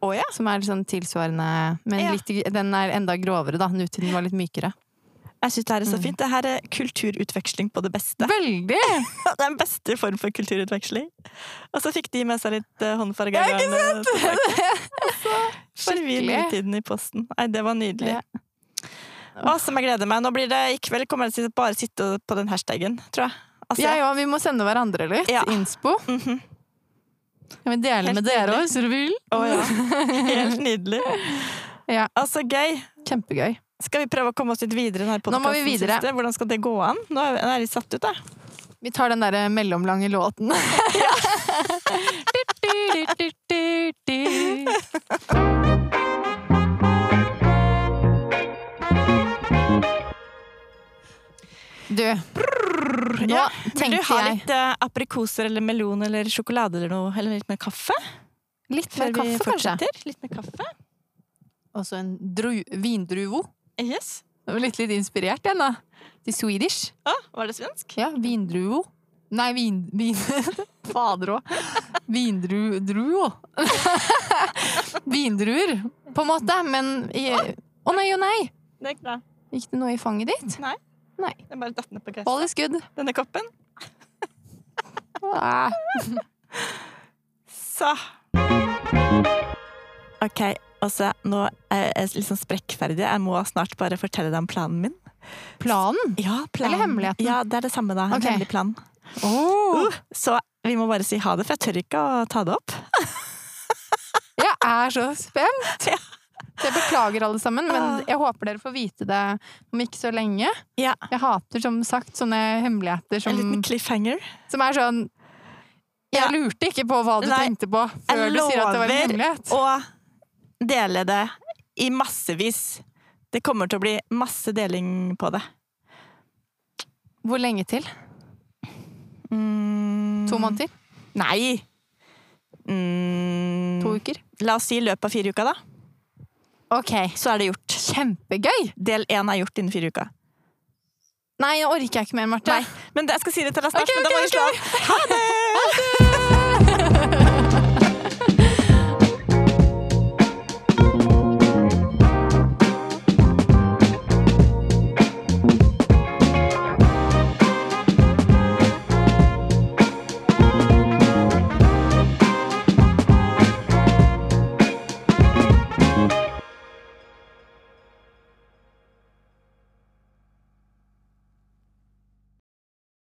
Speaker 1: Å ja.
Speaker 2: Som er litt sånn tilsvarende, men
Speaker 1: Ja.
Speaker 2: litt, den er enda grovere, da. Nutiden var litt mykere.
Speaker 1: Jeg syns det her er så
Speaker 2: Mm.
Speaker 1: fint. Det her er kulturutveksling på det beste.
Speaker 2: Veldig!
Speaker 1: Den beste form for kulturutveksling. Og så fikk de med seg litt eh, håndfarga
Speaker 2: Ja, ikke Altså,
Speaker 1: garn. eh, Så får vi
Speaker 2: Skikkelig.
Speaker 1: Nutiden i posten. Nei, det var nydelig.
Speaker 2: Ja.
Speaker 1: Å, som jeg gleder meg. Nå blir det, I kveld kommer jeg til å bare sitte på den hashtagen, tror jeg. Altså,
Speaker 2: Jeg òg. Vi må sende hverandre litt
Speaker 1: Ja.
Speaker 2: innspo.
Speaker 1: mhm.
Speaker 2: Kan vi dele
Speaker 1: Helt
Speaker 2: med dere
Speaker 1: nydelig.
Speaker 2: òg, hvis dere vil?
Speaker 1: Å ja. Helt nydelig.
Speaker 2: Ja.
Speaker 1: Altså, gøy.
Speaker 2: Kjempegøy.
Speaker 1: Skal vi prøve å komme oss litt videre? i denne
Speaker 2: Nå må vi
Speaker 1: podcasten,
Speaker 2: videre.
Speaker 1: synes du? Hvordan skal det gå an? Nå er nå er jeg litt satt ut, da.
Speaker 2: Vi tar den derre mellomlange låten. Du, nå
Speaker 1: Ja, Vil du
Speaker 2: tenkte
Speaker 1: ha
Speaker 2: jeg
Speaker 1: litt eh, aprikoser eller melon eller sjokolade eller noe? Eller litt mer kaffe?
Speaker 2: Litt
Speaker 1: Før
Speaker 2: mer
Speaker 1: vi
Speaker 2: kaffe, kanskje?
Speaker 1: fortsetter? Litt mer kaffe?
Speaker 2: Og så en dru, vindruvo.
Speaker 1: Yes.
Speaker 2: Jeg var litt, litt inspirert igjen, da. Til Swedish.
Speaker 1: Å, var det svensk?
Speaker 2: Ja, vindruvo. Nei, vin... vin Fader òg. Vindruo. Vindruer, på en måte, men i Å nei, å nei!
Speaker 1: Det gikk bra.
Speaker 2: Gikk det noe i fanget ditt?
Speaker 1: Nei.
Speaker 2: Nei.
Speaker 1: Den bare datt ned på gresset.
Speaker 2: All is good.
Speaker 1: Denne koppen.
Speaker 2: Ah.
Speaker 1: Så. Ok, Åse. Nå er jeg liksom sprekkferdig. Jeg må snart bare fortelle deg om planen min.
Speaker 2: Planen?
Speaker 1: Ja, planen.
Speaker 2: Eller hemmeligheten.
Speaker 1: Ja, det er det samme, da. En
Speaker 2: Ok.
Speaker 1: hemmelig plan.
Speaker 2: Oh.
Speaker 1: Så vi må bare si ha det, for jeg tør ikke å ta det opp.
Speaker 2: Jeg er så spent!
Speaker 1: Ja.
Speaker 2: Så jeg beklager, alle sammen, men
Speaker 1: Ah.
Speaker 2: jeg håper dere får vite det om ikke så lenge.
Speaker 1: Ja. um,
Speaker 2: Jeg hater som sagt sånne hemmeligheter som
Speaker 1: En liten cliffhanger.
Speaker 2: Som er sånn
Speaker 1: Ja.
Speaker 2: Jeg lurte ikke på hva du
Speaker 1: Nei,
Speaker 2: tenkte på før
Speaker 1: jeg
Speaker 2: du sier at det var
Speaker 1: lover
Speaker 2: en hemmelighet.
Speaker 1: Og dele det i massevis. Det kommer til å bli masse deling på det.
Speaker 2: Hvor lenge til?
Speaker 1: Mm.
Speaker 2: To måneder?
Speaker 1: Nei! Mm.
Speaker 2: To uker?
Speaker 1: La oss si i løpet av fire uker, da.
Speaker 2: Ok.
Speaker 1: Så er det gjort.
Speaker 2: Kjempegøy!
Speaker 1: Del én er gjort innen fire uker.
Speaker 2: Nei, jeg orker ikke mer, Marte.
Speaker 1: Nei, men det, jeg skal si det til deg snart.
Speaker 2: Ok,
Speaker 1: men da må
Speaker 2: ok,
Speaker 1: vi slå av. Ha det!